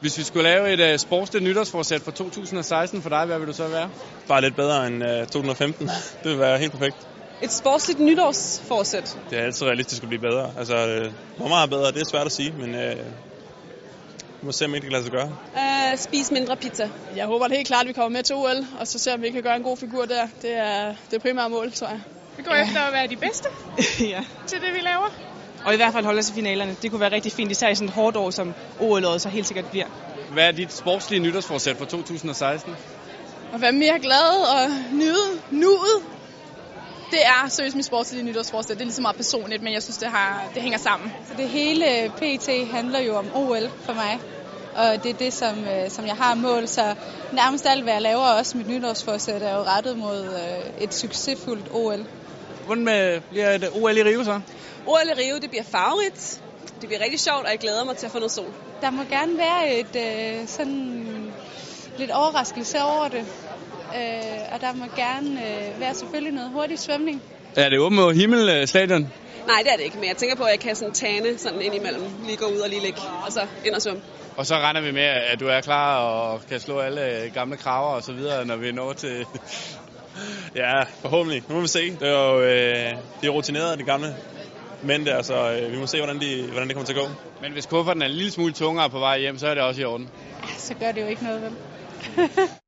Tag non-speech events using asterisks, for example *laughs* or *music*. Hvis vi skulle lave et uh, sportsligt nytårsforsæt for 2016 for dig, hvad vil du så være? Bare lidt bedre end øh, 2015. *laughs* det vil være helt perfekt. Et sportsligt nytårsforsæt. Det er altid realistisk at blive bedre. Altså, øh, hvor meget bedre, det er svært at sige, men øh, vi må se, om ikke det kan lade sig gøre. Uh, spis mindre pizza. Jeg håber da helt klart, at vi kommer med til OL, og så ser om vi kan gøre en god figur der. Det er det primære mål, tror jeg. Vi går ja. efter at være de *laughs* bedste ja. til det, vi laver. Og i hvert fald holde os i finalerne. Det kunne være rigtig fint, især i sådan et hårdt år, som OL'et så helt sikkert bliver. Hvad er dit sportslige nytårsforsæt for 2016? Og være mere glad og nyde nuet. Det er seriøst mit sportslige nytårsforsæt. Det er lige så meget personligt, men jeg synes, det, har, det hænger sammen. Så det hele PT handler jo om OL for mig. Og det er det, som, øh, som jeg har mål. Så nærmest alt, hvad jeg laver, også mit nytårsforsæt, er jo rettet mod øh, et succesfuldt OL. Hvordan med, bliver et OL i Rio så? OL i Rio, det bliver farverigt. Det bliver rigtig sjovt, og jeg glæder mig til at få noget sol. Der må gerne være et øh, sådan lidt overraskelse over det. Øh, og der må gerne øh, være selvfølgelig noget hurtig svømning. Er det åbent mod himmelstadion? Nej, det er det ikke, men jeg tænker på, at jeg kan sådan tane sådan ind imellem. Lige gå ud og lige ligge, og så ind og svømme. Og så regner vi med, at du er klar og kan slå alle gamle kraver og så videre, når vi når til... *laughs* Ja, forhåbentlig. Nu må vi se. Det er jo øh, de er rutineret, de gamle mænd der, så øh, vi må se, hvordan, de, hvordan det kommer til at gå. Men hvis kufferten er en lille smule tungere på vej hjem, så er det også i orden. Ja, så gør det jo ikke noget, vel?